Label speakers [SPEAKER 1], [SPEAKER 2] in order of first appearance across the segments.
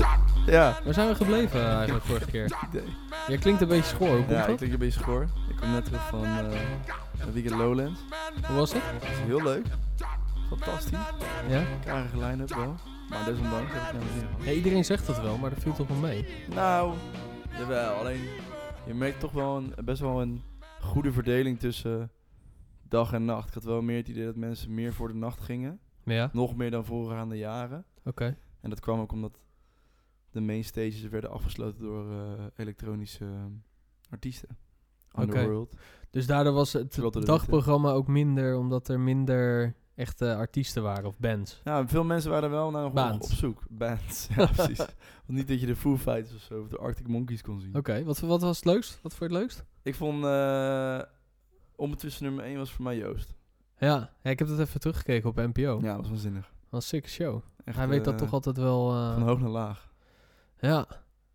[SPEAKER 1] Ja,
[SPEAKER 2] Waar zijn we gebleven eh, eigenlijk vorige keer? Jij klinkt een beetje schoor. Hoe, komt
[SPEAKER 1] ja ik
[SPEAKER 2] dat?
[SPEAKER 1] klink een beetje schor. Ik kom net terug van eh een weekend Lowlands.
[SPEAKER 2] Hoe was het?
[SPEAKER 1] Dat is heel leuk. Fantastisch.
[SPEAKER 2] Ja?
[SPEAKER 1] Karige line-up wel. Maar desondanks heb ik nou weer.
[SPEAKER 2] Ja, iedereen zegt dat wel, maar dat viel toch wel mee.
[SPEAKER 1] Nou, jawel. Alleen, je merkt toch wel een, best wel een goede verdeling tussen dag en nacht. Ik had wel meer het idee dat mensen meer voor de nacht gingen.
[SPEAKER 2] Ja,
[SPEAKER 1] Nog meer dan voorgaande jaren.
[SPEAKER 2] oké.
[SPEAKER 1] En dat kwam ook omdat de main stages werden afgesloten door eh, elektronische eh, artiesten.
[SPEAKER 2] Oké.
[SPEAKER 1] Underworld.
[SPEAKER 2] Dus daardoor was het
[SPEAKER 1] Terwijl er de
[SPEAKER 2] dagprogramma ook minder, omdat er minder echte artiesten waren of bands.
[SPEAKER 1] Nou, veel mensen waren er wel naar op-
[SPEAKER 2] Bands.
[SPEAKER 1] op zoek. Bands, ja precies. Want niet dat je de Foo Fighters of zo of de Arctic Monkeys kon zien.
[SPEAKER 2] Oké, wat, wat was het leukst? Wat vond je het leukst?
[SPEAKER 1] Ik vond, eh ondertussen nummer 1 was voor mij Joost.
[SPEAKER 2] Ja, ja, ik heb dat even teruggekeken op NPO.
[SPEAKER 1] Ja, dat was waanzinnig.
[SPEAKER 2] Wat een sick show.
[SPEAKER 1] Echt,
[SPEAKER 2] Hij weet dat
[SPEAKER 1] eh,
[SPEAKER 2] toch altijd wel. eh,
[SPEAKER 1] Van hoog naar laag.
[SPEAKER 2] ja,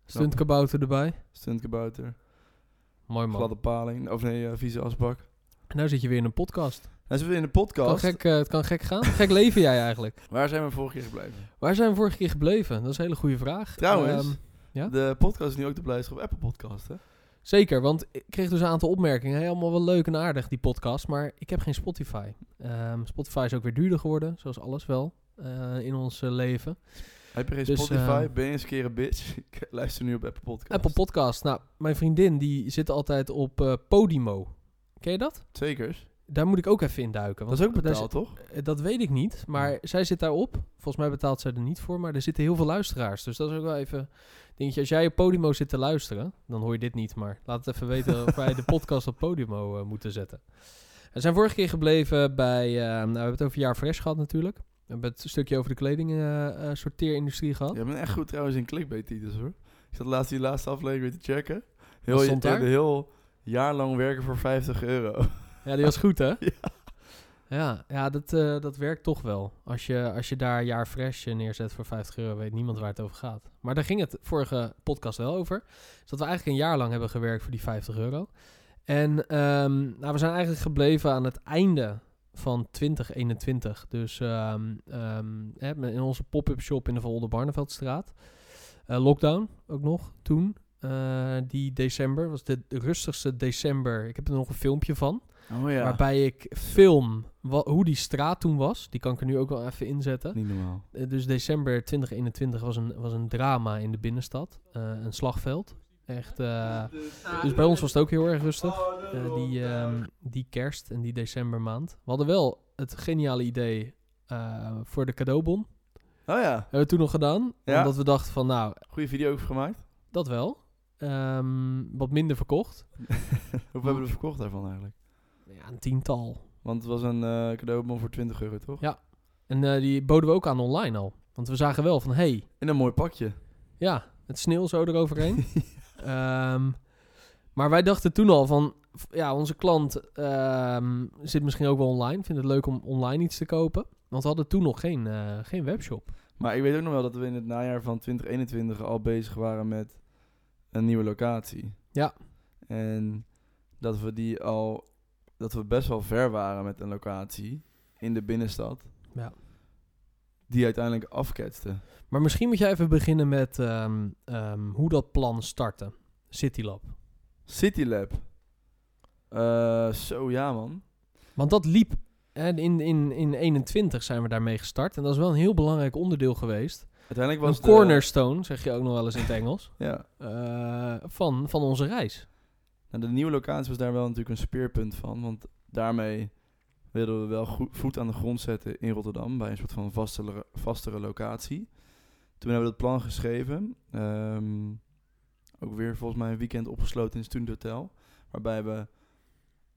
[SPEAKER 2] stuntkabouter erbij.
[SPEAKER 1] Stuntkabouter,
[SPEAKER 2] Mooi man.
[SPEAKER 1] gladde paling, of nee, eh, vieze asbak.
[SPEAKER 2] En nou zit je weer in een podcast.
[SPEAKER 1] Hij zit weer in de
[SPEAKER 2] Kan
[SPEAKER 1] podcast.
[SPEAKER 2] gek, eh, het kan gek gaan. gek leven jij eigenlijk.
[SPEAKER 1] Waar zijn we vorige keer gebleven?
[SPEAKER 2] Waar zijn we vorige keer gebleven? Dat is een hele goede vraag.
[SPEAKER 1] Trouwens,
[SPEAKER 2] Ehm, ja?
[SPEAKER 1] de podcast is nu ook te beluisteren op Apple Podcast, hè?
[SPEAKER 2] Zeker, want ik kreeg dus een aantal opmerkingen. Hey, allemaal wel leuk en aardig, die podcast. Maar ik heb geen Spotify. Ehm, Spotify is ook weer duurder geworden, zoals alles wel. eh, in ons eh, leven.
[SPEAKER 1] Heb je geen
[SPEAKER 2] Dus,
[SPEAKER 1] Spotify?
[SPEAKER 2] eh,
[SPEAKER 1] ben je eens een keer een bitch? Ik luister nu op Apple Podcast.
[SPEAKER 2] Apple Podcast. Nou, mijn vriendin die zit altijd op eh, Podimo. Ken je dat?
[SPEAKER 1] Zekers.
[SPEAKER 2] Daar moet ik ook even in duiken.
[SPEAKER 1] Dat
[SPEAKER 2] want
[SPEAKER 1] is ook
[SPEAKER 2] daar
[SPEAKER 1] betaald, toch?
[SPEAKER 2] Eh, Dat weet ik niet, maar zij zit daarop. Volgens mij betaalt zij er niet voor, maar er zitten heel veel luisteraars. Dus dat is ook wel even... Dingetje, als jij op Podimo zit te luisteren, dan hoor je dit niet. Maar laat het even weten of wij de podcast op Podimo eh, moeten zetten. We zijn vorige keer gebleven bij... eh, nou, we hebben het over Jaar Fresh gehad natuurlijk. We hebben het stukje over de kleding eh, eh, sorteerindustrie gehad.
[SPEAKER 1] Je bent echt goed trouwens in clickbait-titels, hoor. Ik zat laatst die laatste aflevering weer te checken. Heel,
[SPEAKER 2] Wat stond
[SPEAKER 1] je-
[SPEAKER 2] daar?
[SPEAKER 1] heel jaar lang werken voor 50 euro.
[SPEAKER 2] Ja, die was goed, hè? ja. Ja, dat, eh, dat werkt toch wel. Als je, als je daar jaar fresh eh, neerzet voor 50 euro, weet niemand waar het over gaat. Maar daar ging het vorige podcast wel over. Dus dat we eigenlijk een jaar lang hebben gewerkt voor die 50 euro. En ehm, nou, we zijn eigenlijk gebleven aan het einde van 2021. Dus ehm, ehm, hè, met- in onze pop-up shop in de Volde Barneveldstraat. Eh, lockdown ook nog toen. Eh, die december was de rustigste december. Ik heb er nog een filmpje van.
[SPEAKER 1] Oh ja.
[SPEAKER 2] Waarbij ik film wa- hoe die straat toen was. Die kan ik er nu ook wel even inzetten.
[SPEAKER 1] Niet normaal.
[SPEAKER 2] Eh, Dus december 2021 was een, was een drama in de binnenstad. Eh, een slagveld. Echt. eh, dus bij ons was het ook heel erg rustig. Eh, die, ehm, die kerst en die decembermaand. We hadden wel het geniale idee eh, voor de cadeaubon.
[SPEAKER 1] Oh ja,
[SPEAKER 2] Hebben we toen nog gedaan.
[SPEAKER 1] Ja.
[SPEAKER 2] Omdat we dachten van nou,
[SPEAKER 1] goede video over gemaakt.
[SPEAKER 2] dat wel. Ehm, wat minder verkocht.
[SPEAKER 1] Hoeveel hebben we verkocht daarvan eigenlijk?
[SPEAKER 2] Ja, een tiental.
[SPEAKER 1] Want het was een eh cadeaubon voor 20 euro, toch?
[SPEAKER 2] Ja. En eh, die boden we ook aan online al. Want we zagen wel van hey,
[SPEAKER 1] In een mooi pakje.
[SPEAKER 2] Ja, het sneeuw zo eroverheen. Ehm, maar wij dachten toen al van... f- Ja, onze klant ehm, zit misschien ook wel online. Vindt het leuk om online iets te kopen. Want we hadden toen nog geen, eh, geen webshop.
[SPEAKER 1] Maar ik weet ook nog wel dat we in het najaar van 2021 al bezig waren met een nieuwe locatie.
[SPEAKER 2] Ja.
[SPEAKER 1] En dat we die al, dat we best wel ver waren met een locatie in de binnenstad.
[SPEAKER 2] Ja.
[SPEAKER 1] Die uiteindelijk afketste.
[SPEAKER 2] Maar misschien moet jij even beginnen met ehm, ehm, hoe dat plan startte. Citylab.
[SPEAKER 1] Citylab. Eh, zo ja man.
[SPEAKER 2] Want dat liep... hè, in, in, in 21 zijn we daarmee gestart. En dat is wel een heel belangrijk onderdeel geweest.
[SPEAKER 1] Uiteindelijk was
[SPEAKER 2] Een
[SPEAKER 1] de-
[SPEAKER 2] cornerstone, zeg je ook nog wel eens in het Engels.
[SPEAKER 1] Ja.
[SPEAKER 2] eh, van, van onze reis.
[SPEAKER 1] Nou, de nieuwe locatie was daar wel natuurlijk een speerpunt van. Want daarmee wilden we wel goed voet aan de grond zetten in Rotterdam. Bij een soort van vastere, vastere locatie. Toen hebben we dat plan geschreven. Ehm, ook weer volgens mij een weekend opgesloten in het studenthotel. Waarbij we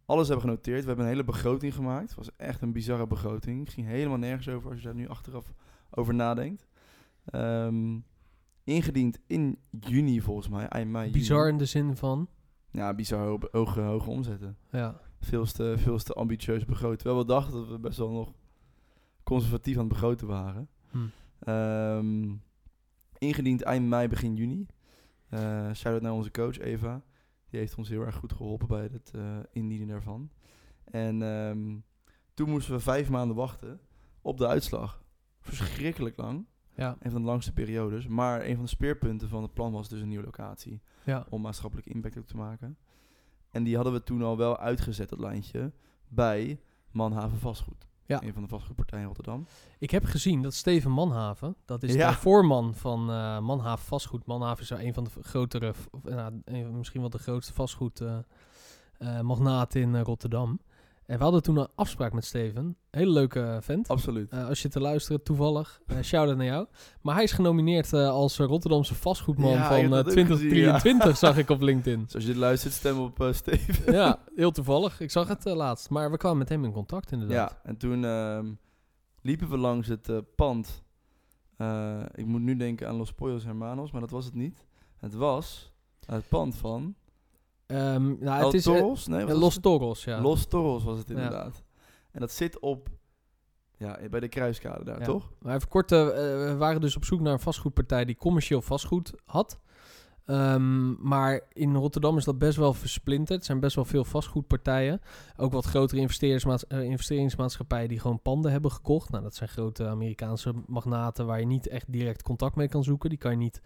[SPEAKER 1] alles hebben genoteerd. We hebben een hele begroting gemaakt. Het was echt een bizarre begroting. ging helemaal nergens over als je daar nu achteraf over nadenkt. Ehm, ingediend in juni volgens mij. Eind mei, juni.
[SPEAKER 2] Bizar in de zin van...
[SPEAKER 1] Ja, bizar ho- hoge, hoge omzetten.
[SPEAKER 2] Ja,
[SPEAKER 1] Veel te, veel te ambitieus begroot. Terwijl we dachten dat we best wel nog conservatief aan het begroten waren.
[SPEAKER 2] Hm.
[SPEAKER 1] Ehm, ingediend eind mei, begin juni. Eh Shout-out naar onze coach Eva. Die heeft ons heel erg goed geholpen bij het eh, indienen daarvan. En ehm, toen moesten we vijf maanden wachten op de uitslag. Verschrikkelijk lang.
[SPEAKER 2] Ja,
[SPEAKER 1] Een van de langste periodes. Maar een van de speerpunten van het plan was dus een nieuwe locatie.
[SPEAKER 2] ja.
[SPEAKER 1] om maatschappelijk impact ook te maken. En die hadden we toen al wel uitgezet, dat lijntje, bij Manhaven Vastgoed.
[SPEAKER 2] Ja.
[SPEAKER 1] Een van de vastgoedpartijen in Rotterdam.
[SPEAKER 2] Ik heb gezien dat Steven Manhaven, dat is
[SPEAKER 1] Ja.
[SPEAKER 2] de voorman van eh, Manhaven Vastgoed. Manhaven is wel een van de v- grotere, v- of, eh, nou, een- misschien wel de grootste vastgoedmagnaat magnaat in eh, Rotterdam. En we hadden toen een afspraak met Steven. Hele leuke vent.
[SPEAKER 1] Absoluut.
[SPEAKER 2] Eh, als je te luisteren, toevallig. eh Shout-out naar jou. Maar hij is genomineerd eh, als Rotterdamse vastgoedman
[SPEAKER 1] Ja, ik
[SPEAKER 2] van
[SPEAKER 1] heb
[SPEAKER 2] eh,
[SPEAKER 1] dat ook gezien,
[SPEAKER 2] 2023, zag ik op LinkedIn.
[SPEAKER 1] Dus als je dit luistert, stem op eh, Steven.
[SPEAKER 2] ja, heel toevallig. Ik zag het eh, laatst. Maar we kwamen met hem in contact inderdaad.
[SPEAKER 1] Ja, en toen ehm, liepen we langs het eh, pand. Eh, ik moet nu denken aan Los Pollos Hermanos, maar dat was het niet. Het was het pand van
[SPEAKER 2] Ja. nou,
[SPEAKER 1] El
[SPEAKER 2] het is eh,
[SPEAKER 1] Toros? Nee, wat was
[SPEAKER 2] Los
[SPEAKER 1] het?
[SPEAKER 2] Toros, ja.
[SPEAKER 1] Los Toros was het
[SPEAKER 2] Ja.
[SPEAKER 1] inderdaad. En dat zit op, ja, bij de Kruiskade daar,
[SPEAKER 2] Ja.
[SPEAKER 1] toch?
[SPEAKER 2] Maar even kort, eh, we waren dus op zoek naar een vastgoedpartij die commercieel vastgoed had. Ehm, maar in Rotterdam is dat best wel versplinterd. Er zijn best wel veel vastgoedpartijen. Ook wat grotere investeersmaats- eh, investeringsmaatschappijen die gewoon panden hebben gekocht. Nou, dat zijn grote Amerikaanse magnaten waar je niet echt direct contact mee kan zoeken. Die kan je niet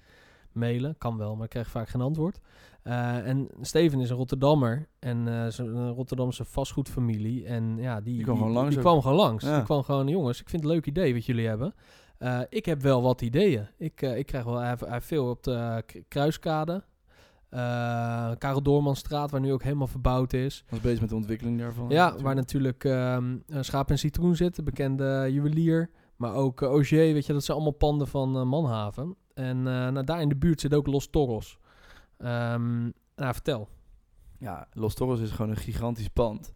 [SPEAKER 2] mailen. Kan wel, maar krijg vaak geen antwoord. Eh, en Steven is een Rotterdammer en eh, is een Rotterdamse vastgoedfamilie. En ja, die,
[SPEAKER 1] Die kwam gewoon langs
[SPEAKER 2] Die
[SPEAKER 1] ook.
[SPEAKER 2] kwam gewoon langs.
[SPEAKER 1] Ja.
[SPEAKER 2] Die kwam gewoon, jongens, ik vind het een leuk idee wat jullie hebben. Eh, ik heb wel wat ideeën. Ik, eh, ik krijg wel hij heeft- hij heeft veel op de eh, K- Kruiskade. eh Karel Doormanstraat, waar nu ook helemaal verbouwd is.
[SPEAKER 1] Was bezig met de ontwikkeling daarvan.
[SPEAKER 2] Ja, waar natuurlijk ehm, eh, Schaap en Citroen zit, de bekende eh, juwelier. Maar ook eh, Auger, weet je, dat zijn allemaal panden van eh, Manhaven. En eh, nou, daar in de buurt zit ook Los Toros. Ehm, nou, vertel.
[SPEAKER 1] Ja, Los Torres is gewoon een gigantisch pand.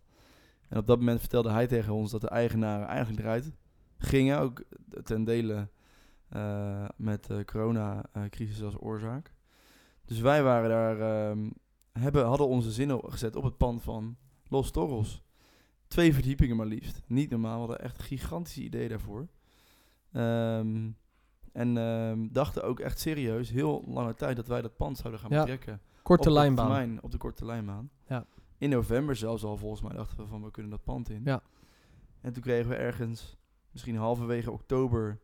[SPEAKER 1] En op dat moment vertelde hij tegen ons dat de eigenaren eigenlijk eruit gingen. Ook ten dele eh, met de coronacrisis als oorzaak. Dus wij waren daar, ehm, hebben, hadden onze zinnen gezet op het pand van Los Torres. Twee verdiepingen maar liefst. Niet normaal, we hadden echt een gigantisch idee daarvoor. Ehm, en ehm, dachten ook echt serieus, heel lange tijd, dat wij dat pand zouden gaan
[SPEAKER 2] Ja.
[SPEAKER 1] betrekken
[SPEAKER 2] Korte
[SPEAKER 1] op de
[SPEAKER 2] lijnbaan.
[SPEAKER 1] termijn- op de korte lijnbaan.
[SPEAKER 2] Ja.
[SPEAKER 1] In november zelfs al, volgens mij, dachten we van we kunnen dat pand in.
[SPEAKER 2] Ja.
[SPEAKER 1] En toen kregen we ergens, misschien halverwege oktober,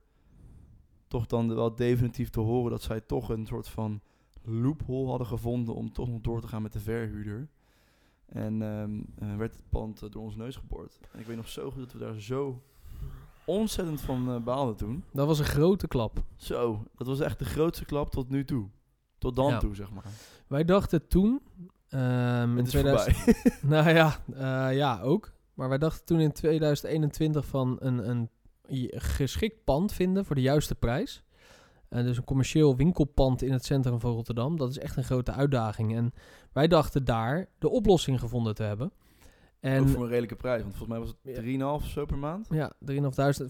[SPEAKER 1] toch dan wel definitief te horen dat zij toch een soort van loophole hadden gevonden om toch nog door te gaan met de verhuurder. En ehm, eh, werd het pand eh, door ons neus geboord. En ik weet nog zo goed dat we daar zo ontzettend van eh, baalden toen.
[SPEAKER 2] Dat was een grote klap.
[SPEAKER 1] Zo, dat was echt de grootste klap tot nu toe. Tot dan
[SPEAKER 2] Ja.
[SPEAKER 1] toe, zeg maar.
[SPEAKER 2] Wij dachten toen... ehm in
[SPEAKER 1] Het is
[SPEAKER 2] 2000,
[SPEAKER 1] voorbij.
[SPEAKER 2] Nou ja, eh, ja, ook. Maar wij dachten toen in 2021 van een, een i- geschikt pand vinden voor de juiste prijs. Eh, dus een commercieel winkelpand in het centrum van Rotterdam. Dat is echt een grote uitdaging. En wij dachten daar de oplossing gevonden te hebben.
[SPEAKER 1] ook
[SPEAKER 2] En
[SPEAKER 1] voor een redelijke prijs, want volgens mij was
[SPEAKER 2] Ja.
[SPEAKER 1] het 3,5 of zo per maand.
[SPEAKER 2] ja, 3.500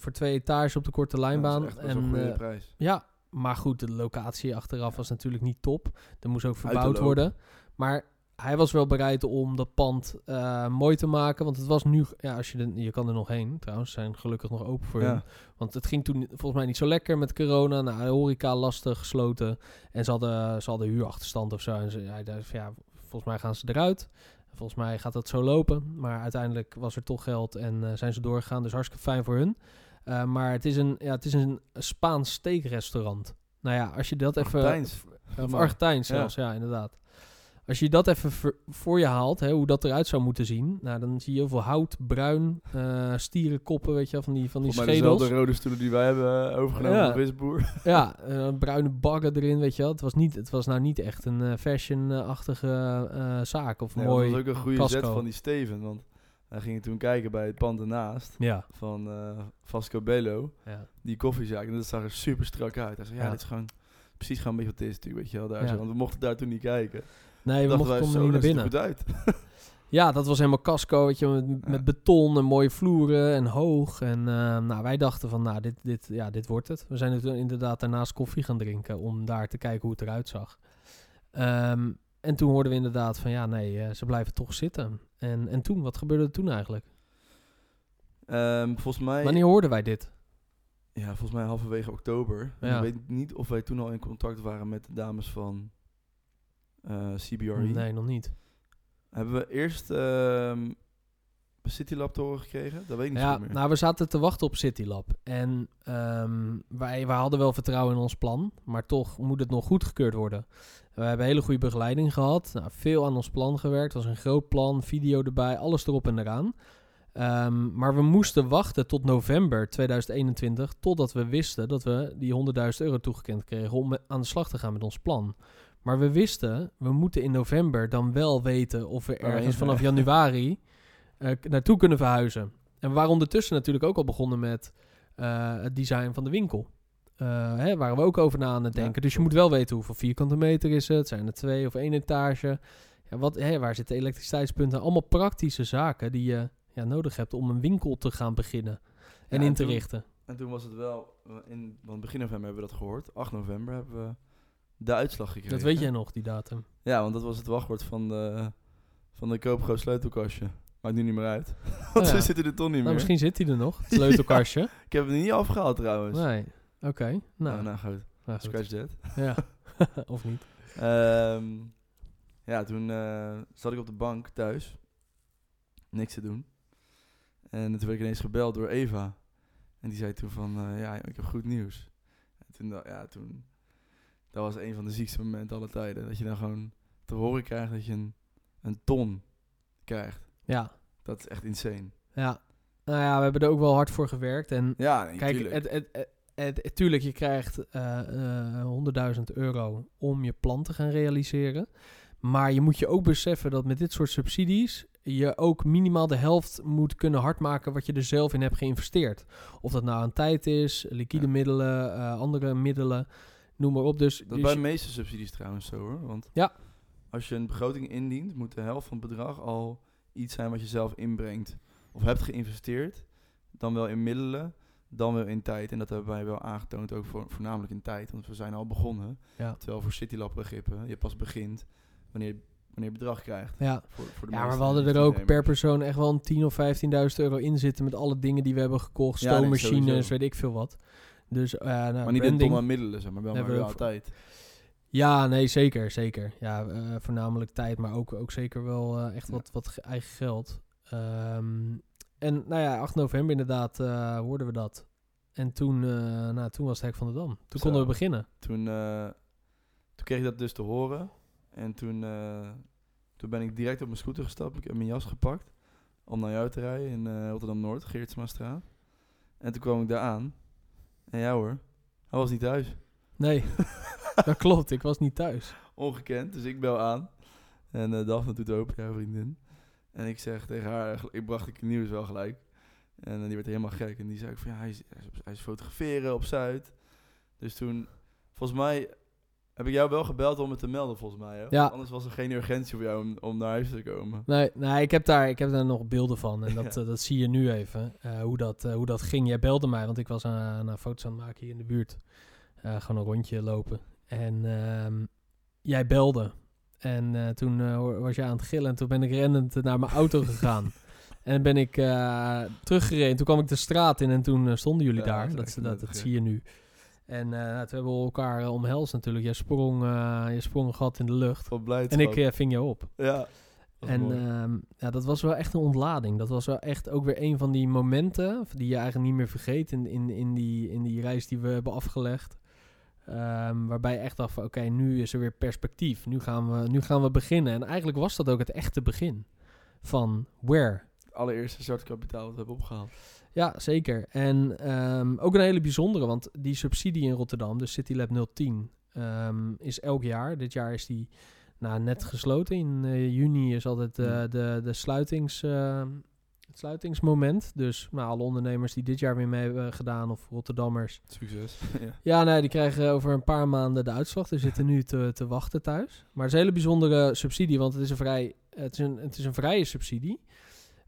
[SPEAKER 2] voor twee etages op de korte lijnbaan.
[SPEAKER 1] Ja, dat is echt best wel een
[SPEAKER 2] en,
[SPEAKER 1] goede
[SPEAKER 2] eh,
[SPEAKER 1] prijs.
[SPEAKER 2] ja, maar goed, de locatie achteraf was natuurlijk niet top. Er moest ook verbouwd
[SPEAKER 1] Uitloop.
[SPEAKER 2] worden. Maar hij was wel bereid om dat pand eh, mooi te maken. Want het was nu... Ja, als je, er- je kan er nog heen trouwens. Ze zijn gelukkig nog open voor hem.
[SPEAKER 1] Ja.
[SPEAKER 2] Want het ging toen volgens mij niet zo lekker met corona. Nou, de horeca lastig, gesloten. En ze hadden, ze hadden huurachterstand of zo. En ze, hij dacht van ja, volgens mij gaan ze eruit. Volgens mij gaat dat zo lopen. Maar uiteindelijk was er toch geld en eh, zijn ze doorgegaan. Dus hartstikke fijn voor hun. Eh, maar het is, een, ja, het is een Spaans steakrestaurant. Nou ja, als je dat even...
[SPEAKER 1] Argentijns.
[SPEAKER 2] Of
[SPEAKER 1] Maar-
[SPEAKER 2] Argentijns
[SPEAKER 1] ja.
[SPEAKER 2] zelfs, ja, inderdaad. Als je dat even ver- voor je haalt, hè, hoe dat eruit zou moeten zien. Nou, dan zie je heel veel hout, bruin, eh, stierenkoppen, weet je wel, van die, van die
[SPEAKER 1] Volgens mij
[SPEAKER 2] schedels.
[SPEAKER 1] dezelfde rode stoelen die wij hebben eh, overgenomen
[SPEAKER 2] Ja.
[SPEAKER 1] van Wisboer.
[SPEAKER 2] Ja, eh, bruine baggen erin, weet je wel. Het was, niet, het was nou niet echt een eh, fashion-achtige eh, zaak of
[SPEAKER 1] Nee, want
[SPEAKER 2] mooi.
[SPEAKER 1] dat was ook een goede zet
[SPEAKER 2] casco.
[SPEAKER 1] van die Steven, want hij ging toen kijken bij het pand ernaast
[SPEAKER 2] Ja,
[SPEAKER 1] van eh Vasco Bello,
[SPEAKER 2] ja.
[SPEAKER 1] die koffiezaak. En dat zag er super strak uit. Hij zei, ja,
[SPEAKER 2] Ja.
[SPEAKER 1] dit is gewoon precies gewoon een beetje wat het is natuurlijk, weet je wel. Daar
[SPEAKER 2] Ja.
[SPEAKER 1] zo. Want we mochten daar toen niet kijken.
[SPEAKER 2] Nee, we
[SPEAKER 1] dachten
[SPEAKER 2] mochten
[SPEAKER 1] wij,
[SPEAKER 2] komen
[SPEAKER 1] zo,
[SPEAKER 2] niet
[SPEAKER 1] dat
[SPEAKER 2] naar
[SPEAKER 1] ziet er
[SPEAKER 2] binnen.
[SPEAKER 1] goed uit.
[SPEAKER 2] Ja, dat was helemaal casco, weet je, met, met beton en mooie vloeren en hoog. En eh, nou, wij dachten van, nou, dit, dit, ja, dit wordt het. We zijn er toen inderdaad daarnaast koffie gaan drinken om daar te kijken hoe het eruit zag. Ehm, en toen hoorden we inderdaad van, ja, nee, eh, ze blijven toch zitten. En, en toen, wat gebeurde er toen eigenlijk?
[SPEAKER 1] Ehm, volgens mij...
[SPEAKER 2] Wanneer hoorden wij dit?
[SPEAKER 1] Ja, volgens mij halverwege oktober. En
[SPEAKER 2] Ja.
[SPEAKER 1] Ik weet niet of wij toen al in contact waren met de dames van eh CBRE.
[SPEAKER 2] Nee, nog niet.
[SPEAKER 1] Hebben we eerst ehm, Citylab te horen gekregen? Dat weet ik niet
[SPEAKER 2] Ja,
[SPEAKER 1] zo meer.
[SPEAKER 2] nou, we zaten te wachten op Citylab. En ehm, wij, wij hadden wel vertrouwen in ons plan, maar toch moet het nog goedgekeurd worden. We hebben hele goede begeleiding gehad. Nou, veel aan ons plan gewerkt. Het was een groot plan, video erbij, alles erop en eraan. Ehm, maar we moesten wachten tot november 2021, totdat we wisten dat we die 100.000 euro toegekend kregen om aan de slag te gaan met ons plan. Maar we wisten, we moeten in november dan wel weten of we
[SPEAKER 1] Waar we
[SPEAKER 2] ergens
[SPEAKER 1] heen
[SPEAKER 2] vanaf januari eh, k- naartoe kunnen verhuizen. En we waren ondertussen natuurlijk ook al begonnen met eh, het design van de winkel. Eh hè, waren we ook over na aan het
[SPEAKER 1] Ja,
[SPEAKER 2] denken. dus je moet wel weten hoeveel vierkante meter is het. Zijn er twee of één etage? Ja, wat, hè, waar zitten elektriciteitspunten? Allemaal praktische zaken die je ja, nodig hebt om een winkel te gaan beginnen en
[SPEAKER 1] Ja,
[SPEAKER 2] in
[SPEAKER 1] en
[SPEAKER 2] te
[SPEAKER 1] toen-
[SPEAKER 2] richten.
[SPEAKER 1] En toen was het wel, eh, in, want begin november hebben we dat gehoord. 8 november hebben we de uitslag gekregen.
[SPEAKER 2] Dat weet jij nog, die datum.
[SPEAKER 1] Ja, want dat was het wachtwoord van de, van de koopgroot sleutelkastje. Maakt nu niet meer uit. Want
[SPEAKER 2] Oh ja.
[SPEAKER 1] ze zitten er toch niet
[SPEAKER 2] Nou,
[SPEAKER 1] meer.
[SPEAKER 2] misschien zit hij er nog, het sleutelkastje.
[SPEAKER 1] Ik heb het er niet afgehaald trouwens.
[SPEAKER 2] Nee, oké. Nou,
[SPEAKER 1] nou, nou goed.
[SPEAKER 2] nou goed.
[SPEAKER 1] Scratch that.
[SPEAKER 2] Ja. of niet.
[SPEAKER 1] Ehm, ja, toen eh, zat ik op de bank thuis. Niks te doen. En toen werd ik ineens gebeld door Eva. En die zei toen van, eh, ja, ik heb goed nieuws. En toen, da- ja, toen... Dat was een van de ziekste momenten alle tijden. Dat je dan gewoon te horen krijgt dat je een, een ton krijgt.
[SPEAKER 2] Ja,
[SPEAKER 1] Dat is echt insane.
[SPEAKER 2] ja. Nou ja, we hebben er ook wel hard voor gewerkt. En
[SPEAKER 1] Ja, nee,
[SPEAKER 2] Kijk,
[SPEAKER 1] tuurlijk.
[SPEAKER 2] het, het, het, het- tuurlijk, je krijgt eh, eh, 100.000 euro om je plan te gaan realiseren. Maar je moet je ook beseffen dat met dit soort subsidies je ook minimaal de helft moet kunnen hardmaken wat je er zelf in hebt geïnvesteerd. Of dat nou aan tijd is, liquide
[SPEAKER 1] Ja.
[SPEAKER 2] middelen, eh, andere middelen, noem maar op. Dus,
[SPEAKER 1] Dat
[SPEAKER 2] dus
[SPEAKER 1] is bij de
[SPEAKER 2] je-
[SPEAKER 1] meeste subsidies trouwens zo hoor. Want
[SPEAKER 2] Ja.
[SPEAKER 1] als je een begroting indient, moet de helft van het bedrag al iets zijn wat je zelf inbrengt. Of hebt geïnvesteerd, dan wel in middelen, dan wel in tijd. En dat hebben wij wel aangetoond, ook voor, voornamelijk in tijd, want we zijn al begonnen.
[SPEAKER 2] Ja.
[SPEAKER 1] Terwijl voor Citylab begrippen, je pas begint wanneer, wanneer je bedrag krijgt.
[SPEAKER 2] ja.
[SPEAKER 1] Voor, voor de
[SPEAKER 2] ja, maar
[SPEAKER 1] meeste
[SPEAKER 2] we hadden er ook per
[SPEAKER 1] ondernemers.
[SPEAKER 2] persoon echt wel een 10.000 of 15.000 euro in zitten met alle dingen die we hebben gekocht,
[SPEAKER 1] Ja, nee,
[SPEAKER 2] stoommachines,
[SPEAKER 1] sowieso.
[SPEAKER 2] weet ik veel wat. Dus, eh, nou,
[SPEAKER 1] Maar niet in
[SPEAKER 2] branding.
[SPEAKER 1] ton aan middelen, zeg maar, wel, maar
[SPEAKER 2] Hebben we
[SPEAKER 1] wel
[SPEAKER 2] ook
[SPEAKER 1] tijd.
[SPEAKER 2] Ja, nee, zeker, zeker. Ja, eh, voornamelijk tijd, maar ook, ook zeker wel eh, echt
[SPEAKER 1] Ja.
[SPEAKER 2] wat, wat ge- eigen geld. Ehm, en nou ja, 8 november inderdaad eh hoorden we dat. En toen, eh, nou, toen was het Hek van de Dam. Toen
[SPEAKER 1] Zo.
[SPEAKER 2] konden we beginnen.
[SPEAKER 1] toen, eh, toen kreeg ik dat dus te horen. En toen, eh, toen ben ik direct op mijn scooter gestapt. Ik heb mijn jas gepakt om naar jou te rijden in eh, Rotterdam-Noord, Geertsmaastraat. En toen kwam ik daar aan. En ja hoor, hij was niet thuis.
[SPEAKER 2] Nee, dat klopt. Ik was niet thuis.
[SPEAKER 1] Ongekend, dus ik bel aan. En eh Daphne doet open, jouw vriendin. En ik zeg tegen haar, eh, gel- ik bracht het nieuws wel gelijk. En eh, die werd helemaal gek. En die zei ook van, ja, hij is, hij is op- hij is fotograferen op Zuid. Dus toen, volgens mij, heb ik jou wel gebeld om het te melden, volgens mij. Hè?
[SPEAKER 2] Ja.
[SPEAKER 1] Want Anders was er geen urgentie voor jou om, om naar huis te komen.
[SPEAKER 2] Nee, nee ik, heb daar, ik heb daar nog beelden van. En dat,
[SPEAKER 1] Ja.
[SPEAKER 2] eh, dat zie je nu even. eh, hoe, dat, eh, hoe dat ging. Jij belde mij, want ik was aan, aan foto's aan het maken hier in de buurt. Eh, gewoon een rondje lopen. En ehm, jij belde. En eh, toen eh, hoor- was jij aan het gillen. En toen ben ik rennend naar mijn auto gegaan. en ben ik eh, teruggereden. Toen kwam ik de straat in en toen eh, stonden jullie
[SPEAKER 1] Ja, dat
[SPEAKER 2] daar.
[SPEAKER 1] is
[SPEAKER 2] Dat,
[SPEAKER 1] echt
[SPEAKER 2] dat, dat,
[SPEAKER 1] knettergek.
[SPEAKER 2] zie je nu. En eh, nou, toen hebben we elkaar eh, omhelst natuurlijk. Jij sprong, eh, jij sprong een gat in de lucht.
[SPEAKER 1] Van blijdschap.
[SPEAKER 2] En ik eh, ving jou op.
[SPEAKER 1] ja. was
[SPEAKER 2] En
[SPEAKER 1] mooi.
[SPEAKER 2] ehm, ja, dat was wel echt een ontlading. Dat was wel echt ook weer een van die momenten die je eigenlijk niet meer vergeet in, in, in, die, in die reis die we hebben afgelegd. Ehm, waarbij je echt dacht van oké, nu is er weer perspectief. Nu gaan, we, nu gaan we beginnen. En eigenlijk was dat ook het echte begin van where.
[SPEAKER 1] Het allereerste startkapitaal dat we hebben opgehaald.
[SPEAKER 2] Ja, zeker. En ehm, ook een hele bijzondere, want die subsidie in Rotterdam, de CityLab 010, ehm, is elk jaar. Dit jaar is die nou, net gesloten. In eh, juni is altijd eh,
[SPEAKER 1] Ja.
[SPEAKER 2] de, de sluitings, ehm, het sluitingsmoment. Dus nou, alle ondernemers die dit jaar weer mee hebben gedaan, of Rotterdammers.
[SPEAKER 1] Succes. ja.
[SPEAKER 2] Ja, nee, die krijgen over een paar maanden de uitslag. Die zitten nu te, te wachten thuis. Maar het is een hele bijzondere subsidie, want het is een, vrij, het is een, het is een vrije subsidie.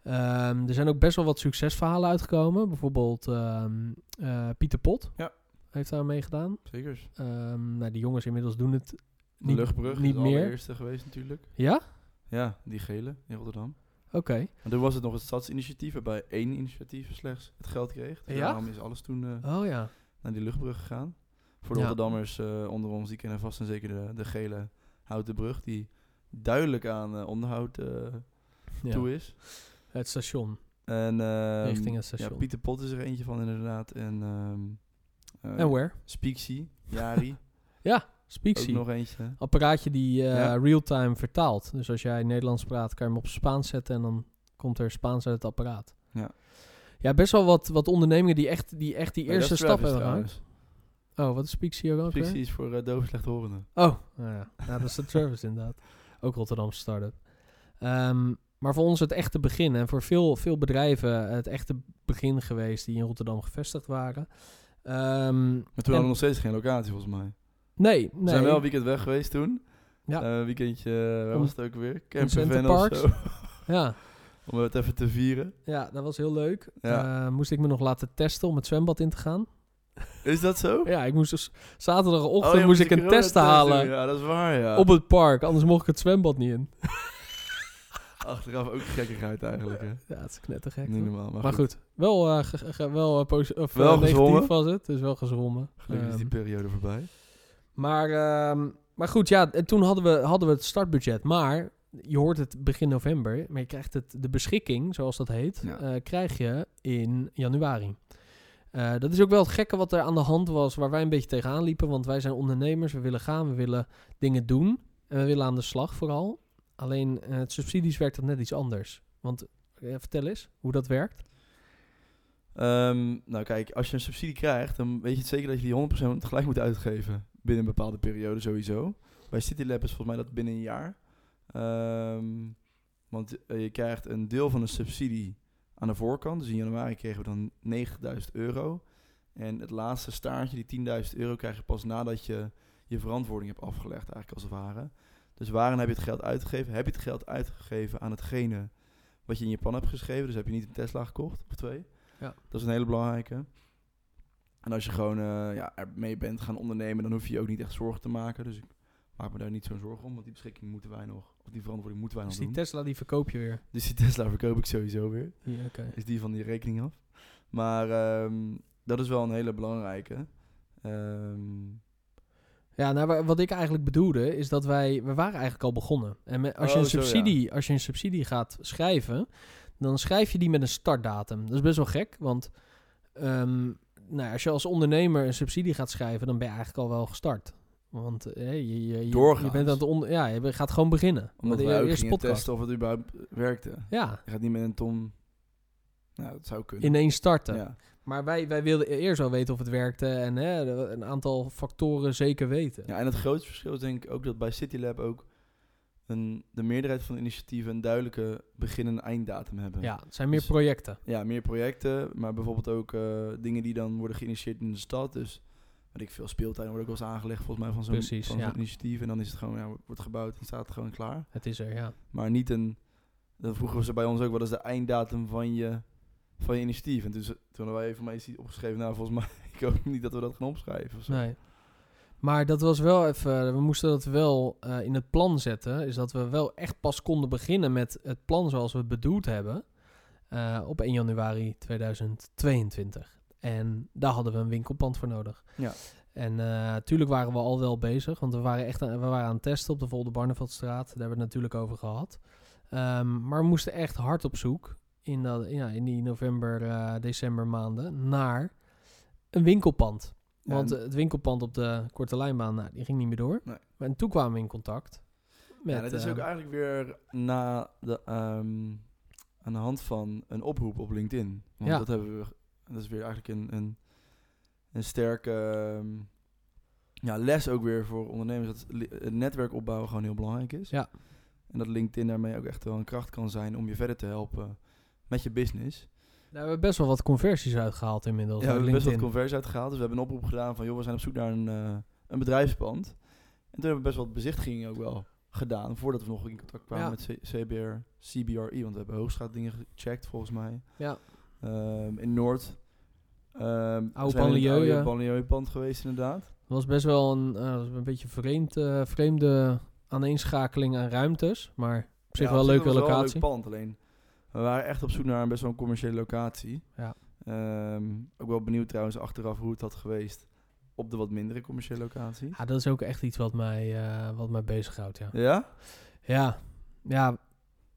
[SPEAKER 2] Ehm, er zijn ook best wel wat succesverhalen uitgekomen. Bijvoorbeeld ehm, eh, Pieter Pot
[SPEAKER 1] Ja.
[SPEAKER 2] heeft daar meegedaan.
[SPEAKER 1] Zeker.
[SPEAKER 2] Ehm nou, die jongens inmiddels doen het.
[SPEAKER 1] De
[SPEAKER 2] Niet-
[SPEAKER 1] luchtbrug
[SPEAKER 2] niet
[SPEAKER 1] is de
[SPEAKER 2] meer.
[SPEAKER 1] allereerste geweest natuurlijk.
[SPEAKER 2] Ja?
[SPEAKER 1] Ja, die gele in Rotterdam.
[SPEAKER 2] Oké.
[SPEAKER 1] Maar toen was het nog het stadsinitiatief, waarbij één initiatief slechts het geld kreeg. Dus
[SPEAKER 2] Ja?
[SPEAKER 1] daarom is alles toen eh,
[SPEAKER 2] Oh ja.
[SPEAKER 1] naar die luchtbrug gegaan. Voor de
[SPEAKER 2] Ja.
[SPEAKER 1] Rotterdammers eh, onder ons, die kennen vast en zeker de, de gele houten brug, die duidelijk aan eh, onderhoud eh,
[SPEAKER 2] Ja.
[SPEAKER 1] toe is.
[SPEAKER 2] Het station.
[SPEAKER 1] En, ehm,
[SPEAKER 2] richting het
[SPEAKER 1] ja,
[SPEAKER 2] station.
[SPEAKER 1] Pieter Pot is er eentje van inderdaad. En, ehm eh,
[SPEAKER 2] en where?
[SPEAKER 1] Speaksy, Jari, ook
[SPEAKER 2] Speaksy.
[SPEAKER 1] nog eentje.
[SPEAKER 2] Apparaatje die eh,
[SPEAKER 1] Ja.
[SPEAKER 2] real-time vertaalt. Dus als jij Nederlands praat, kan je hem op Spaans zetten en dan komt er Spaans uit het apparaat.
[SPEAKER 1] Ja.
[SPEAKER 2] Ja, best wel wat, wat ondernemingen die echt die, echt die
[SPEAKER 1] Nee,
[SPEAKER 2] eerste
[SPEAKER 1] dat is
[SPEAKER 2] stap
[SPEAKER 1] Travis
[SPEAKER 2] hebben gemaakt.
[SPEAKER 1] trouwens.
[SPEAKER 2] Oh, wat is Speaksy ook alweer?
[SPEAKER 1] Speaksy is voor eh, dove slechthorenden.
[SPEAKER 2] Oh, nou ja. ja, dat is de Travis inderdaad. Ook Rotterdamse start-up. Ehm, maar voor ons het echte begin en voor veel, veel bedrijven het echte begin geweest die in Rotterdam gevestigd waren. Ehm,
[SPEAKER 1] Maar
[SPEAKER 2] en-
[SPEAKER 1] toen hadden we nog steeds geen locatie volgens mij.
[SPEAKER 2] nee, nee.
[SPEAKER 1] We zijn wel een weekend weg geweest toen.
[SPEAKER 2] Ja.
[SPEAKER 1] Eh, weekendje, eh, waar
[SPEAKER 2] Om-
[SPEAKER 1] was het ook weer?
[SPEAKER 2] Center
[SPEAKER 1] Campervan of
[SPEAKER 2] Parks.
[SPEAKER 1] zo.
[SPEAKER 2] ja,
[SPEAKER 1] Om het even te vieren.
[SPEAKER 2] ja, dat was heel leuk.
[SPEAKER 1] Ja.
[SPEAKER 2] Eh, moest ik me nog laten testen om het zwembad in te gaan.
[SPEAKER 1] Is dat zo?
[SPEAKER 2] Ja, ik moest dus zaterdagochtend
[SPEAKER 1] Oh, je
[SPEAKER 2] moest
[SPEAKER 1] moet
[SPEAKER 2] ik
[SPEAKER 1] die
[SPEAKER 2] een test
[SPEAKER 1] coronatest
[SPEAKER 2] halen
[SPEAKER 1] doen. Ja, dat is waar, ja.
[SPEAKER 2] op het park, anders mocht ik het zwembad niet in.
[SPEAKER 1] Achteraf ook gekkigheid eigenlijk, hè.
[SPEAKER 2] Ja, het is knettergek.
[SPEAKER 1] Niet
[SPEAKER 2] toch?
[SPEAKER 1] normaal, maar,
[SPEAKER 2] Maar
[SPEAKER 1] goed.
[SPEAKER 2] goed, wel, eh, ge- ge- wel, eh, posi- of,
[SPEAKER 1] Wel
[SPEAKER 2] eh, negatief
[SPEAKER 1] gezwommen.
[SPEAKER 2] was het, dus wel gezwommen.
[SPEAKER 1] Gelukkig is
[SPEAKER 2] Ehm,
[SPEAKER 1] die periode voorbij.
[SPEAKER 2] maar, ehm, maar goed, ja, en toen hadden we, hadden we het startbudget. Maar je hoort het begin november, maar je krijgt het, de beschikking, zoals dat heet,
[SPEAKER 1] Ja.
[SPEAKER 2] eh, krijg je in januari. Eh, dat is ook wel het gekke wat er aan de hand was, waar wij een beetje tegenaan liepen. Want wij zijn ondernemers, we willen gaan, we willen dingen doen. En we willen aan de slag vooral. Alleen eh, het subsidies werkt dat net iets anders. Want eh, vertel eens hoe dat werkt.
[SPEAKER 1] Ehm, nou kijk, als je een subsidie krijgt, dan weet je het zeker dat je die 100% gelijk moet uitgeven. Binnen een bepaalde periode sowieso. Bij CityLab is volgens mij dat binnen een jaar. Ehm, want eh, je krijgt een deel van de subsidie aan de voorkant. Dus in januari kregen we dan 90.000 euro. En het laatste staartje, die 10.000 euro, krijg je pas nadat je je verantwoording hebt afgelegd, eigenlijk als het ware. Dus waarin heb je het geld uitgegeven? Heb je het geld uitgegeven aan hetgene wat je in je plan hebt geschreven? Dus heb je niet een Tesla gekocht of twee? Dat is een hele belangrijke. En als je gewoon eh ja, ermee bent gaan ondernemen, dan hoef je je ook niet echt zorgen te maken. Dus ik maak me daar niet zo'n zorgen om, want die beschikking moeten wij nog, of die verantwoording moeten wij
[SPEAKER 2] Dus
[SPEAKER 1] nog
[SPEAKER 2] die
[SPEAKER 1] doen.
[SPEAKER 2] Tesla die verkoop je weer.
[SPEAKER 1] dus die Tesla verkoop ik sowieso weer.
[SPEAKER 2] Ja, oké.
[SPEAKER 1] Is die van die rekening af. Maar ehm, dat is wel een hele belangrijke. Ehm,
[SPEAKER 2] Ja, nou, wa- wat ik eigenlijk bedoelde is dat wij, we waren eigenlijk al begonnen. En me- als, je
[SPEAKER 1] Oh,
[SPEAKER 2] een
[SPEAKER 1] zo, ja.
[SPEAKER 2] subsidie, als je een subsidie gaat schrijven, dan schrijf je die met een startdatum. Dat is best wel gek, want ehm, nou, ja, als je als ondernemer een subsidie gaat schrijven, dan ben je eigenlijk al wel gestart. Want eh, je, je, je,
[SPEAKER 1] Doorgaans.
[SPEAKER 2] je bent aan het on- ja, je be- gaat gewoon beginnen.
[SPEAKER 1] omdat
[SPEAKER 2] Met
[SPEAKER 1] wij
[SPEAKER 2] de e-,
[SPEAKER 1] ook
[SPEAKER 2] eerste
[SPEAKER 1] gingen testen of het überhaupt werkte.
[SPEAKER 2] Ja,
[SPEAKER 1] Je gaat niet met een ton... Nou, dat zou kunnen.
[SPEAKER 2] ineens starten.
[SPEAKER 1] ja.
[SPEAKER 2] Maar wij, wij wilden e-, eerst al weten of het werkte en hè, de- een aantal factoren zeker weten.
[SPEAKER 1] Ja, en het grootste verschil is denk ik ook dat bij CityLab ook een, de meerderheid van de initiatieven een duidelijke begin- en einddatum hebben.
[SPEAKER 2] Ja, het zijn meer
[SPEAKER 1] Dus-
[SPEAKER 2] projecten.
[SPEAKER 1] Ja, meer projecten, maar bijvoorbeeld ook eh, dingen die dan worden geïnitieerd in de stad. Dus weet ik veel speeltuin wordt ook wel eens aangelegd volgens mij van zo'n
[SPEAKER 2] Precies,
[SPEAKER 1] van zo'n
[SPEAKER 2] ja.
[SPEAKER 1] initiatief. En dan is het gewoon, ja, wordt gebouwd en staat het gewoon klaar.
[SPEAKER 2] Het is er, ja.
[SPEAKER 1] Maar niet een, dan vroegen ze bij ons ook, wat is de einddatum van je, van je initiatief? En toen, ze- toen hadden wij even mij iets opgeschreven, nou volgens mij, ik hoop niet dat we dat gaan opschrijven of zo.
[SPEAKER 2] Nee. Maar dat was wel even, eh, we moesten dat wel eh, in het plan zetten. Is dat we wel echt pas konden beginnen met het plan zoals we het bedoeld hebben. eh, op 1 januari 2022. En daar hadden we een winkelpand voor nodig.
[SPEAKER 1] Ja.
[SPEAKER 2] En eh tuurlijk waren we al wel bezig, want we waren echt aan, we waren aan het testen op de Volde Barneveldstraat. Daar hebben we het natuurlijk over gehad. Ehm, maar we moesten echt hard op zoek in, dat, ja, in die november, eh, december maanden naar een winkelpand.
[SPEAKER 1] Ja,
[SPEAKER 2] Want
[SPEAKER 1] en-
[SPEAKER 2] eh, het winkelpand op de Korte Lijnbaan, nou, die ging niet meer door.
[SPEAKER 1] Nee.
[SPEAKER 2] Maar en toen kwamen we in contact met...
[SPEAKER 1] ja, dat is
[SPEAKER 2] eh,
[SPEAKER 1] ook eigenlijk weer na de, ehm, aan de hand van een oproep op LinkedIn. Want
[SPEAKER 2] Ja.
[SPEAKER 1] dat hebben we. Dat is weer eigenlijk een, een, een sterke ehm, ja, les ook weer voor ondernemers. Dat li- het netwerk opbouwen gewoon heel belangrijk is.
[SPEAKER 2] Ja.
[SPEAKER 1] En dat LinkedIn daarmee ook echt wel een kracht kan zijn om je verder te helpen met je business.
[SPEAKER 2] Daar hebben we best wel wat conversies uitgehaald inmiddels.
[SPEAKER 1] Ja, we
[SPEAKER 2] uit
[SPEAKER 1] hebben best wat
[SPEAKER 2] LinkedIn.
[SPEAKER 1] conversie uitgehaald. Dus we hebben een oproep gedaan van joh, we zijn op zoek naar een, eh, een bedrijfspand. En toen hebben we best wat bezichtigingen ook wel gedaan. Voordat we nog in contact kwamen
[SPEAKER 2] Ja.
[SPEAKER 1] met C- CBR, CBRI. Want we hebben Hoogstraat dingen gecheckt volgens mij.
[SPEAKER 2] Ja.
[SPEAKER 1] Ehm, in Noord. Ehm
[SPEAKER 2] Oude
[SPEAKER 1] zijn we in het
[SPEAKER 2] banlieue.
[SPEAKER 1] Oude banlieupand geweest inderdaad.
[SPEAKER 2] Het was best wel een, eh, dat was een beetje vreemd, eh, vreemde aaneenschakeling aan ruimtes. Maar op zich
[SPEAKER 1] Ja,
[SPEAKER 2] wel een
[SPEAKER 1] dat
[SPEAKER 2] leuke
[SPEAKER 1] was wel een
[SPEAKER 2] locatie.
[SPEAKER 1] leuk pand, alleen we waren echt op zoek naar een best wel een commerciële locatie.
[SPEAKER 2] Ja.
[SPEAKER 1] Ehm, ook wel benieuwd trouwens achteraf hoe het had geweest op de wat mindere commerciële locatie.
[SPEAKER 2] ja, dat is ook echt iets wat mij, eh, wat mij bezighoudt, ja.
[SPEAKER 1] Ja?
[SPEAKER 2] Ja, ja,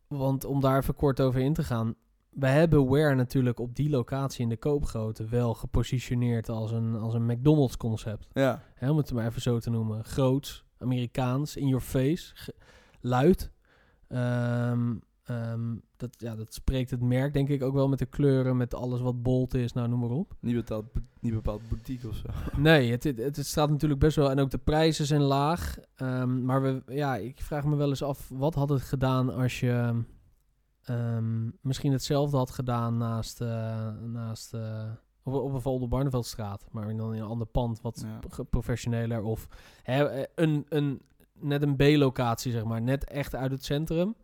[SPEAKER 2] want om daar even kort over in te gaan. we hebben Ware natuurlijk op die locatie in de koopgrootte wel gepositioneerd als een, als een McDonald's concept.
[SPEAKER 1] Ja,
[SPEAKER 2] Hè, om het maar even zo te noemen. Groots, Amerikaans, in your face, ge- luid. Ehm, ehm, dat, ja, dat spreekt het merk denk ik ook wel met de kleuren, met alles wat bold is, nou noem maar op.
[SPEAKER 1] niet bepaald, niet bepaald boutique of zo.
[SPEAKER 2] Nee, het, het, het staat natuurlijk best wel. En ook de prijzen zijn laag. Ehm, maar we, ja, ik vraag me wel eens af, wat had het gedaan als je ehm, misschien hetzelfde had gedaan naast, eh, naast eh, op, op bijvoorbeeld de Barneveldstraat, maar dan in een ander pand wat
[SPEAKER 1] Ja.
[SPEAKER 2] ge- professioneler of hè, eh, een, een, net een B-locatie, zeg maar. Net echt uit het centrum.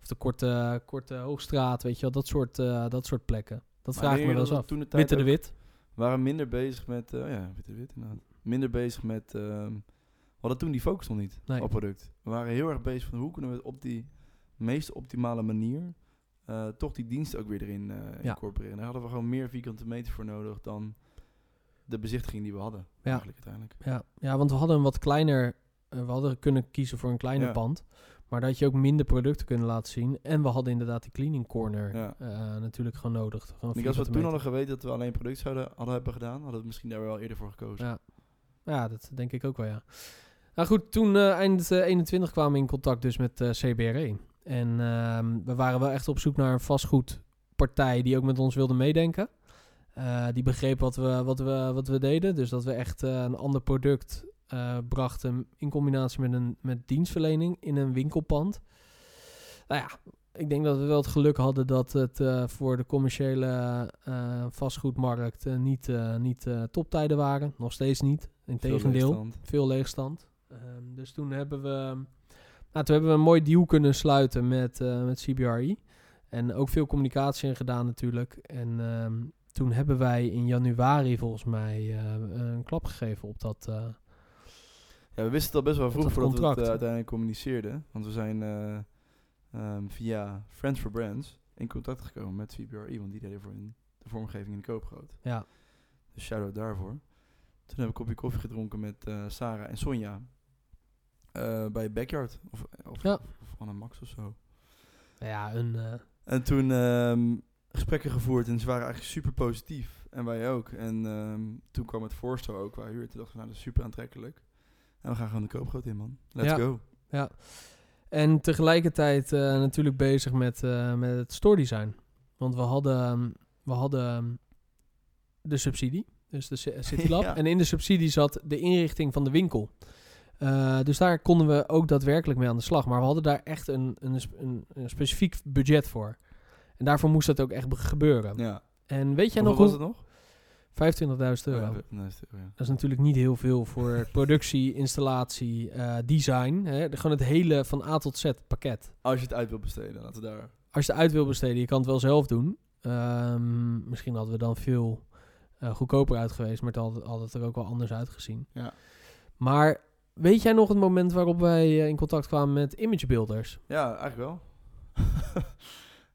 [SPEAKER 2] Of de korte, korte Hoogstraat, weet je wel, dat soort, eh, dat soort plekken. Dat
[SPEAKER 1] Maar
[SPEAKER 2] vraag ik
[SPEAKER 1] denk
[SPEAKER 2] me wel
[SPEAKER 1] je dat
[SPEAKER 2] eens
[SPEAKER 1] we
[SPEAKER 2] af.
[SPEAKER 1] Toen de tijd
[SPEAKER 2] Witte de
[SPEAKER 1] ook-
[SPEAKER 2] Wit.
[SPEAKER 1] waren minder bezig met, eh, oh ja, witte wit inderdaad. Minder bezig met, ehm, we hadden toen die focus nog niet
[SPEAKER 2] Nee.
[SPEAKER 1] op product. We waren heel erg bezig van hoe kunnen we op die meest optimale manier eh, toch die dienst ook weer erin eh incorporeren. Daar hadden we gewoon meer vierkante meter voor nodig dan de bezichtiging die we hadden.
[SPEAKER 2] Ja.
[SPEAKER 1] Eigenlijk uiteindelijk.
[SPEAKER 2] Ja, ja, want we hadden een wat kleiner. eh, we hadden kunnen kiezen voor een kleiner
[SPEAKER 1] Ja.
[SPEAKER 2] pand. Maar dat je ook minder producten kunnen laten zien. En we hadden inderdaad die cleaning corner
[SPEAKER 1] Ja.
[SPEAKER 2] eh, natuurlijk gewoon nodig. Gewoon
[SPEAKER 1] Ik denk als we
[SPEAKER 2] 4 meter.
[SPEAKER 1] toen hadden geweten dat we alleen product zouden hadden hebben gedaan, hadden we misschien daar wel eerder voor gekozen.
[SPEAKER 2] Ja. Ja, dat denk ik ook wel, ja. Nou goed, toen eh, eind eh, 21 kwamen we in contact dus met eh, CBRE. En ehm, we waren wel echt op zoek naar een vastgoedpartij die ook met ons wilde meedenken. Eh, die begreep wat we, wat, we, wat we deden. Dus dat we echt eh, een ander product eh, brachten in combinatie met, een, met dienstverlening in een winkelpand. Nou ja, ik denk dat we wel het geluk hadden dat het eh, voor de commerciële eh, vastgoedmarkt eh, niet, eh, niet eh, toptijden waren. Nog steeds niet.
[SPEAKER 1] Veel
[SPEAKER 2] Integendeel
[SPEAKER 1] leegstand.
[SPEAKER 2] veel leegstand. Ehm, dus toen hebben we, nou, toen hebben we een mooi deal kunnen sluiten met, eh met CBRE. En ook veel communicatie in gedaan natuurlijk. En ehm, toen hebben wij in januari volgens mij eh, een klap gegeven op dat... eh,
[SPEAKER 1] Ja, we wisten het al best wel vroeg
[SPEAKER 2] dat
[SPEAKER 1] voordat we het
[SPEAKER 2] contract.
[SPEAKER 1] eh, uiteindelijk communiceerden. Want we zijn eh, ehm, via Friends for Brands in contact gekomen met VBRI. E, Want die deden voor hun de vormgeving in de koopgroot.
[SPEAKER 2] ja,
[SPEAKER 1] Dus shout-out daarvoor. Toen heb ik een kopje koffie gedronken met eh, Sarah en Sonja. eh, bij Backyard. Of, eh, of,
[SPEAKER 2] Ja.
[SPEAKER 1] of Anna Max of zo.
[SPEAKER 2] nou ja, een... eh,
[SPEAKER 1] En toen ehm, gesprekken gevoerd en ze waren eigenlijk super positief. En wij ook. En ehm, toen kwam het voorstel ook qua huur. Toen dachten we, nou dat is super aantrekkelijk. En we gaan gewoon de koopgroot in, man. Let's
[SPEAKER 2] Ja.
[SPEAKER 1] go.
[SPEAKER 2] En tegelijkertijd eh, natuurlijk bezig met, eh, met het store design. Want we hadden, ehm, we hadden de subsidie, dus de C- Citylab.
[SPEAKER 1] Ja.
[SPEAKER 2] En in de subsidie zat de inrichting van de winkel. Eh, dus daar konden we ook daadwerkelijk mee aan de slag. Maar we hadden daar echt een, een, sp- een, een specifiek budget voor. En daarvoor moest dat ook echt be- gebeuren.
[SPEAKER 1] Ja.
[SPEAKER 2] En weet jij nog
[SPEAKER 1] Hoeveel
[SPEAKER 2] hoe?
[SPEAKER 1] was het nog?
[SPEAKER 2] 25.000 euro.
[SPEAKER 1] Oh, ja, we- nee, is het- oh, ja.
[SPEAKER 2] Dat is natuurlijk niet heel veel voor productie, installatie, eh, design. Hè? Gewoon het hele van A tot Z pakket
[SPEAKER 1] Als je het uit wil besteden, laten we daar.
[SPEAKER 2] als je het uit wil besteden, je kan het wel zelf doen. Ehm, misschien hadden we dan veel eh, goedkoper uit geweest, maar het had, had het er ook wel anders uitgezien.
[SPEAKER 1] Ja.
[SPEAKER 2] Maar weet jij nog het moment waarop wij eh, in contact kwamen met image builders?
[SPEAKER 1] Ja, eigenlijk wel. Zal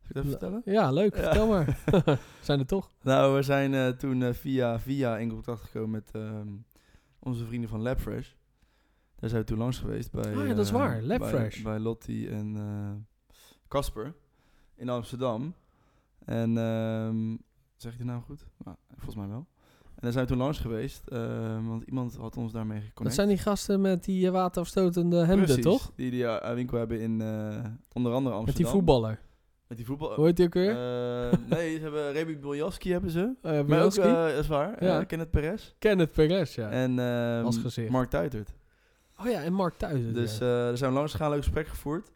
[SPEAKER 1] ik het even
[SPEAKER 2] Ja.
[SPEAKER 1] vertellen?
[SPEAKER 2] Ja, leuk.
[SPEAKER 1] Ja.
[SPEAKER 2] Vertel maar. Zijn er toch?
[SPEAKER 1] Nou, we zijn eh, toen eh, via, via in contact gekomen met ehm, onze vrienden van LabFresh. Daar zijn we toen langs geweest. Bij,
[SPEAKER 2] Ah ja, dat is
[SPEAKER 1] eh,
[SPEAKER 2] waar,
[SPEAKER 1] bij-
[SPEAKER 2] Labfresh.
[SPEAKER 1] Bij, Lottie en eh, Casper in Amsterdam. En ehm, zeg ik de naam goed? Nou, volgens mij wel. En daar zijn we toen langs geweest, eh, want iemand had ons daarmee geconnect.
[SPEAKER 2] Dat zijn die gasten met die eh, waterafstotende hemden,
[SPEAKER 1] Precies,
[SPEAKER 2] toch?
[SPEAKER 1] Die die eh, winkel hebben in eh, onder andere Amsterdam.
[SPEAKER 2] Met die voetballer.
[SPEAKER 1] Met die voetbal.
[SPEAKER 2] Hoe heet die ook weer?
[SPEAKER 1] Eh, nee, ze hebben Remy Boljaski hebben ze.
[SPEAKER 2] Eh,
[SPEAKER 1] Maar ook,
[SPEAKER 2] Bielanski?
[SPEAKER 1] eh, dat is waar,
[SPEAKER 2] Ja.
[SPEAKER 1] ja. Kenneth Perez.
[SPEAKER 2] Kenneth Perez, ja.
[SPEAKER 1] En ehm,
[SPEAKER 2] Als gezicht.
[SPEAKER 1] Mark Tuitert.
[SPEAKER 2] oh ja, en Mark Thuysen.
[SPEAKER 1] Dus eh daar zijn we langs gegaan, leuk gesprek gevoerd.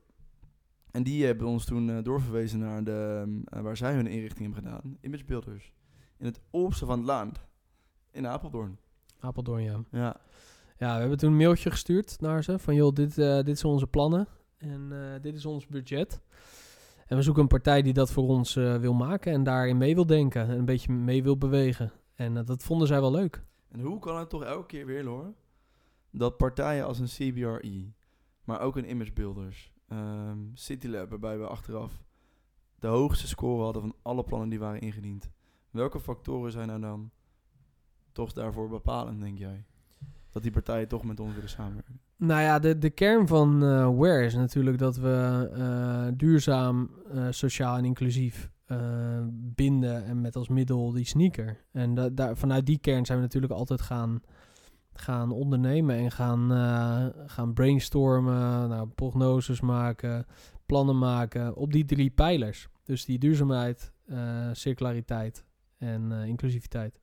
[SPEAKER 1] En die hebben ons toen eh, doorverwezen naar de, ehm, eh, waar zij hun inrichting hebben gedaan. Image Builders. In het oosten van het land. In Apeldoorn.
[SPEAKER 2] Apeldoorn, ja.
[SPEAKER 1] Ja.
[SPEAKER 2] Ja, we hebben toen een mailtje gestuurd naar ze. Van joh, dit, eh, dit zijn onze plannen. En eh, dit is ons budget. En we zoeken een partij die dat voor ons eh, wil maken. En daarin mee wil denken. En een beetje mee wil bewegen. En eh, dat vonden zij wel leuk.
[SPEAKER 1] En hoe kan het toch elke keer weer, hoor, dat partijen als een CBRE, maar ook een Image Builders, ehm CityLab, waarbij we achteraf de hoogste score hadden van alle plannen die waren ingediend. Welke factoren zijn nou dan toch daarvoor bepalend, denk jij? Dat die partijen toch met ons willen samenwerken.
[SPEAKER 2] Nou ja, de, de kern van eh Ware is natuurlijk dat we eh, duurzaam, eh, sociaal en inclusief eh, binden en met als middel die sneaker. En da- daar, vanuit die kern zijn we natuurlijk altijd gaan, gaan ondernemen en gaan, eh, gaan brainstormen, nou, prognoses maken, plannen maken op die drie pijlers. Dus die duurzaamheid, eh, circulariteit en eh, inclusiviteit.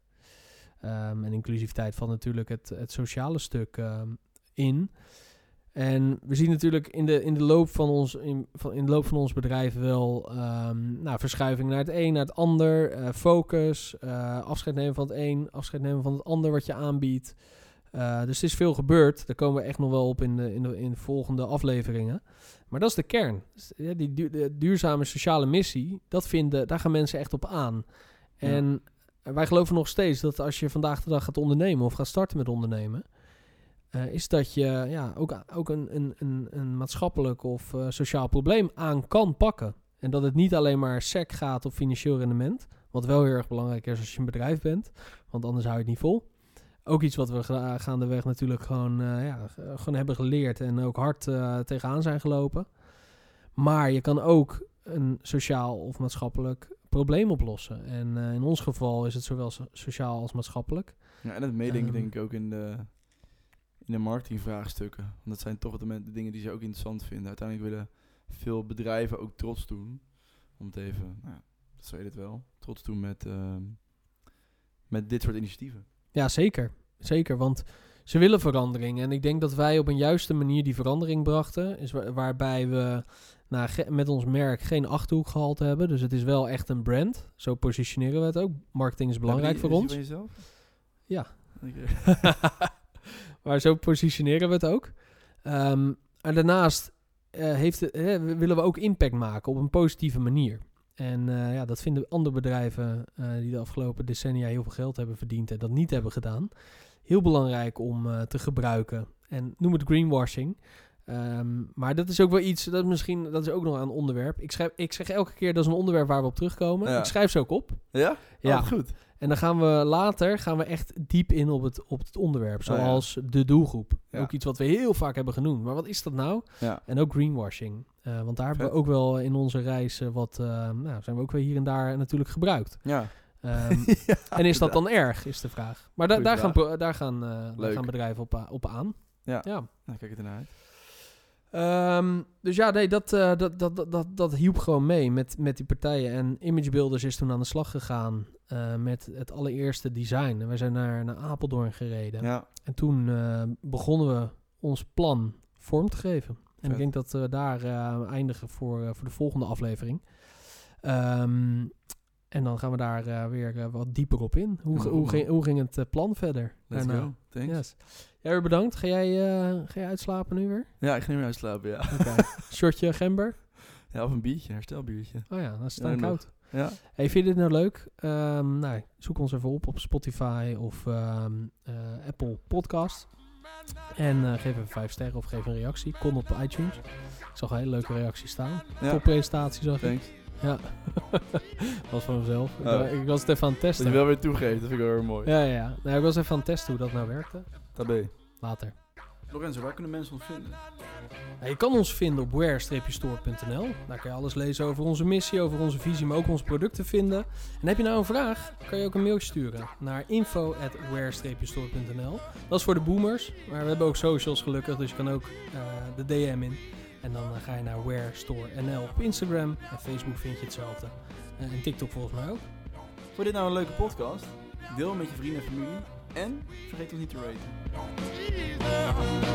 [SPEAKER 2] Ehm, en inclusiviteit van natuurlijk het, het sociale stuk ehm, in. En we zien natuurlijk in de, in de, loop, van ons, in, van, in de loop van ons bedrijf wel ehm, nou, verschuiving naar het een, naar het ander. eh, focus, eh, afscheid nemen van het een, afscheid nemen van het ander wat je aanbiedt. Eh, dus er is veel gebeurd. Daar komen we echt nog wel op in de, in de, in de volgende afleveringen. Maar dat is de kern. Dus, ja, die du- de duurzame sociale missie, dat vinden, daar gaan mensen echt op aan.
[SPEAKER 1] Ja.
[SPEAKER 2] En eh, wij geloven nog steeds dat als je vandaag de dag gaat ondernemen of gaat starten met ondernemen, eh, is dat je ja, ook, ook een, een, een, een maatschappelijk of eh, sociaal probleem aan kan pakken. En dat het niet alleen maar sec gaat op financieel rendement. Wat wel heel erg belangrijk is als je een bedrijf bent. Want anders hou je het niet vol. Ook iets wat we gra- gaandeweg natuurlijk gewoon, eh, ja, g- gewoon hebben geleerd. En ook hard eh, tegenaan zijn gelopen. Maar je kan ook een sociaal of maatschappelijk probleem oplossen. En eh, in ons geval is het zowel so- sociaal als maatschappelijk.
[SPEAKER 1] Ja, en het meedenken
[SPEAKER 2] Ehm.
[SPEAKER 1] denk ik ook in de, in de marketingvraagstukken. Want dat zijn toch de, men- de dingen die ze ook interessant vinden. Uiteindelijk willen veel bedrijven ook trots doen. Om het even, nou, ja, dat zou je dit wel, trots doen met, ehm, met dit soort initiatieven.
[SPEAKER 2] Ja, zeker. Zeker, want ze willen verandering. En ik denk dat wij op een juiste manier die verandering brachten. Is wa- waarbij we nou, ge- met ons merk geen achterhoek gehaald hebben. Dus het is wel echt een brand. Zo positioneren we het ook. Marketing is belangrijk
[SPEAKER 1] Hebben
[SPEAKER 2] voor
[SPEAKER 1] die- dus
[SPEAKER 2] ons.
[SPEAKER 1] is die van jezelf?
[SPEAKER 2] Ja.
[SPEAKER 1] Oké.
[SPEAKER 2] maar zo positioneren we het ook. Ehm, en daarnaast eh, heeft, het- hè, w- willen we ook impact maken op een positieve manier. En eh, ja, dat vinden andere bedrijven eh, die de afgelopen decennia heel veel geld hebben verdiend en dat niet hebben gedaan, heel belangrijk om eh, te gebruiken. En noem het greenwashing. Ehm, maar dat is ook wel iets, dat, misschien, dat is ook nog een onderwerp. Ik, schrijf, ik zeg elke keer dat is een onderwerp waar we op terugkomen.
[SPEAKER 1] Ja.
[SPEAKER 2] Ik schrijf ze ook op.
[SPEAKER 1] Ja?
[SPEAKER 2] Ja.
[SPEAKER 1] Oh, goed.
[SPEAKER 2] En dan gaan we later gaan we echt diep in op het, op het onderwerp.
[SPEAKER 1] Oh ja.
[SPEAKER 2] Zoals de doelgroep.
[SPEAKER 1] Ja.
[SPEAKER 2] Ook iets wat we heel vaak hebben genoemd. Maar wat is dat nou?
[SPEAKER 1] Ja.
[SPEAKER 2] En ook greenwashing. Eh, want daar hebben we
[SPEAKER 1] Vet.
[SPEAKER 2] ook wel in onze reizen wat... eh, nou, zijn we ook weer hier en daar natuurlijk gebruikt.
[SPEAKER 1] Ja.
[SPEAKER 2] Ehm,
[SPEAKER 1] Ja,
[SPEAKER 2] en is dat
[SPEAKER 1] inderdaad.
[SPEAKER 2] dan erg, is de vraag. Maar da-
[SPEAKER 1] Goeie
[SPEAKER 2] daar,
[SPEAKER 1] vraag.
[SPEAKER 2] gaan, pro- daar, gaan, eh, daar
[SPEAKER 1] Leuk.
[SPEAKER 2] gaan bedrijven op, a- op aan.
[SPEAKER 1] Ja.
[SPEAKER 2] ja.
[SPEAKER 1] Nou, kijk het ernaar uit.
[SPEAKER 2] Ehm, dus ja, nee, dat, eh, dat, dat, dat, dat, dat hielp gewoon mee met, met die partijen. En Image Builders is toen aan de slag gegaan eh, met het allereerste design. En wij zijn naar, naar Apeldoorn gereden.
[SPEAKER 1] Ja.
[SPEAKER 2] En toen eh, begonnen we ons plan vorm te geven. En ik
[SPEAKER 1] Vet.
[SPEAKER 2] denk dat we daar eh, eindigen voor, eh, voor de volgende aflevering. Ehm, en dan gaan we daar eh, weer eh, wat dieper op in. Hoe,
[SPEAKER 1] Ja,
[SPEAKER 2] hoe,
[SPEAKER 1] man.
[SPEAKER 2] ging, hoe ging het eh, plan verder?
[SPEAKER 1] Let's
[SPEAKER 2] daarna?
[SPEAKER 1] go. Thanks.
[SPEAKER 2] eh, Yes. Jij weer bedankt. Ga jij, eh, ga jij uitslapen nu weer?
[SPEAKER 1] Ja, ik ga niet meer uitslapen, ja.
[SPEAKER 2] Oké. Shortje gember?
[SPEAKER 1] ja. Of een biertje, een herstelbiertje.
[SPEAKER 2] Oh ja, dat is het
[SPEAKER 1] Ja,
[SPEAKER 2] dan
[SPEAKER 1] nog.
[SPEAKER 2] koud.
[SPEAKER 1] Ja.
[SPEAKER 2] Hey, vind je dit nou leuk? Ehm, nou, zoek ons even op op Spotify of ehm, eh, Apple Podcast. En eh, geef even vijf sterren of geef een reactie. Kom op iTunes. Ik zag een hele leuke reactie staan.
[SPEAKER 1] Ja.
[SPEAKER 2] Toppresentatie zag ik.
[SPEAKER 1] Thanks.
[SPEAKER 2] Ja. was van mezelf. Ik
[SPEAKER 1] Oh.
[SPEAKER 2] wa- Ik was het even aan het
[SPEAKER 1] Dat
[SPEAKER 2] testen.
[SPEAKER 1] je wel weer toegeeft, dat vind ik wel weer mooi.
[SPEAKER 2] Ja, ja, ja. Nou, ik was even aan het testen hoe dat nou werkte.
[SPEAKER 1] Tabé.
[SPEAKER 2] Later.
[SPEAKER 1] Lorenzo, waar kunnen mensen ons vinden?
[SPEAKER 2] Nou, je kan ons vinden op where-store.nl. Daar kan je alles lezen over onze missie, over onze visie, maar ook onze producten vinden. En heb je nou een vraag, kan je ook een mailtje sturen naar info.where-store.nl. Dat is voor de boomers, maar we hebben ook socials gelukkig, dus je kan ook eh, de DM in. En dan eh, ga je naar where-store.nl op Instagram en Facebook vind je hetzelfde. Eh, en TikTok volgens mij ook.
[SPEAKER 1] Vond je dit nou een leuke podcast? Deel met je vrienden en familie. En vergeet ons niet te raten.
[SPEAKER 3] Jesus.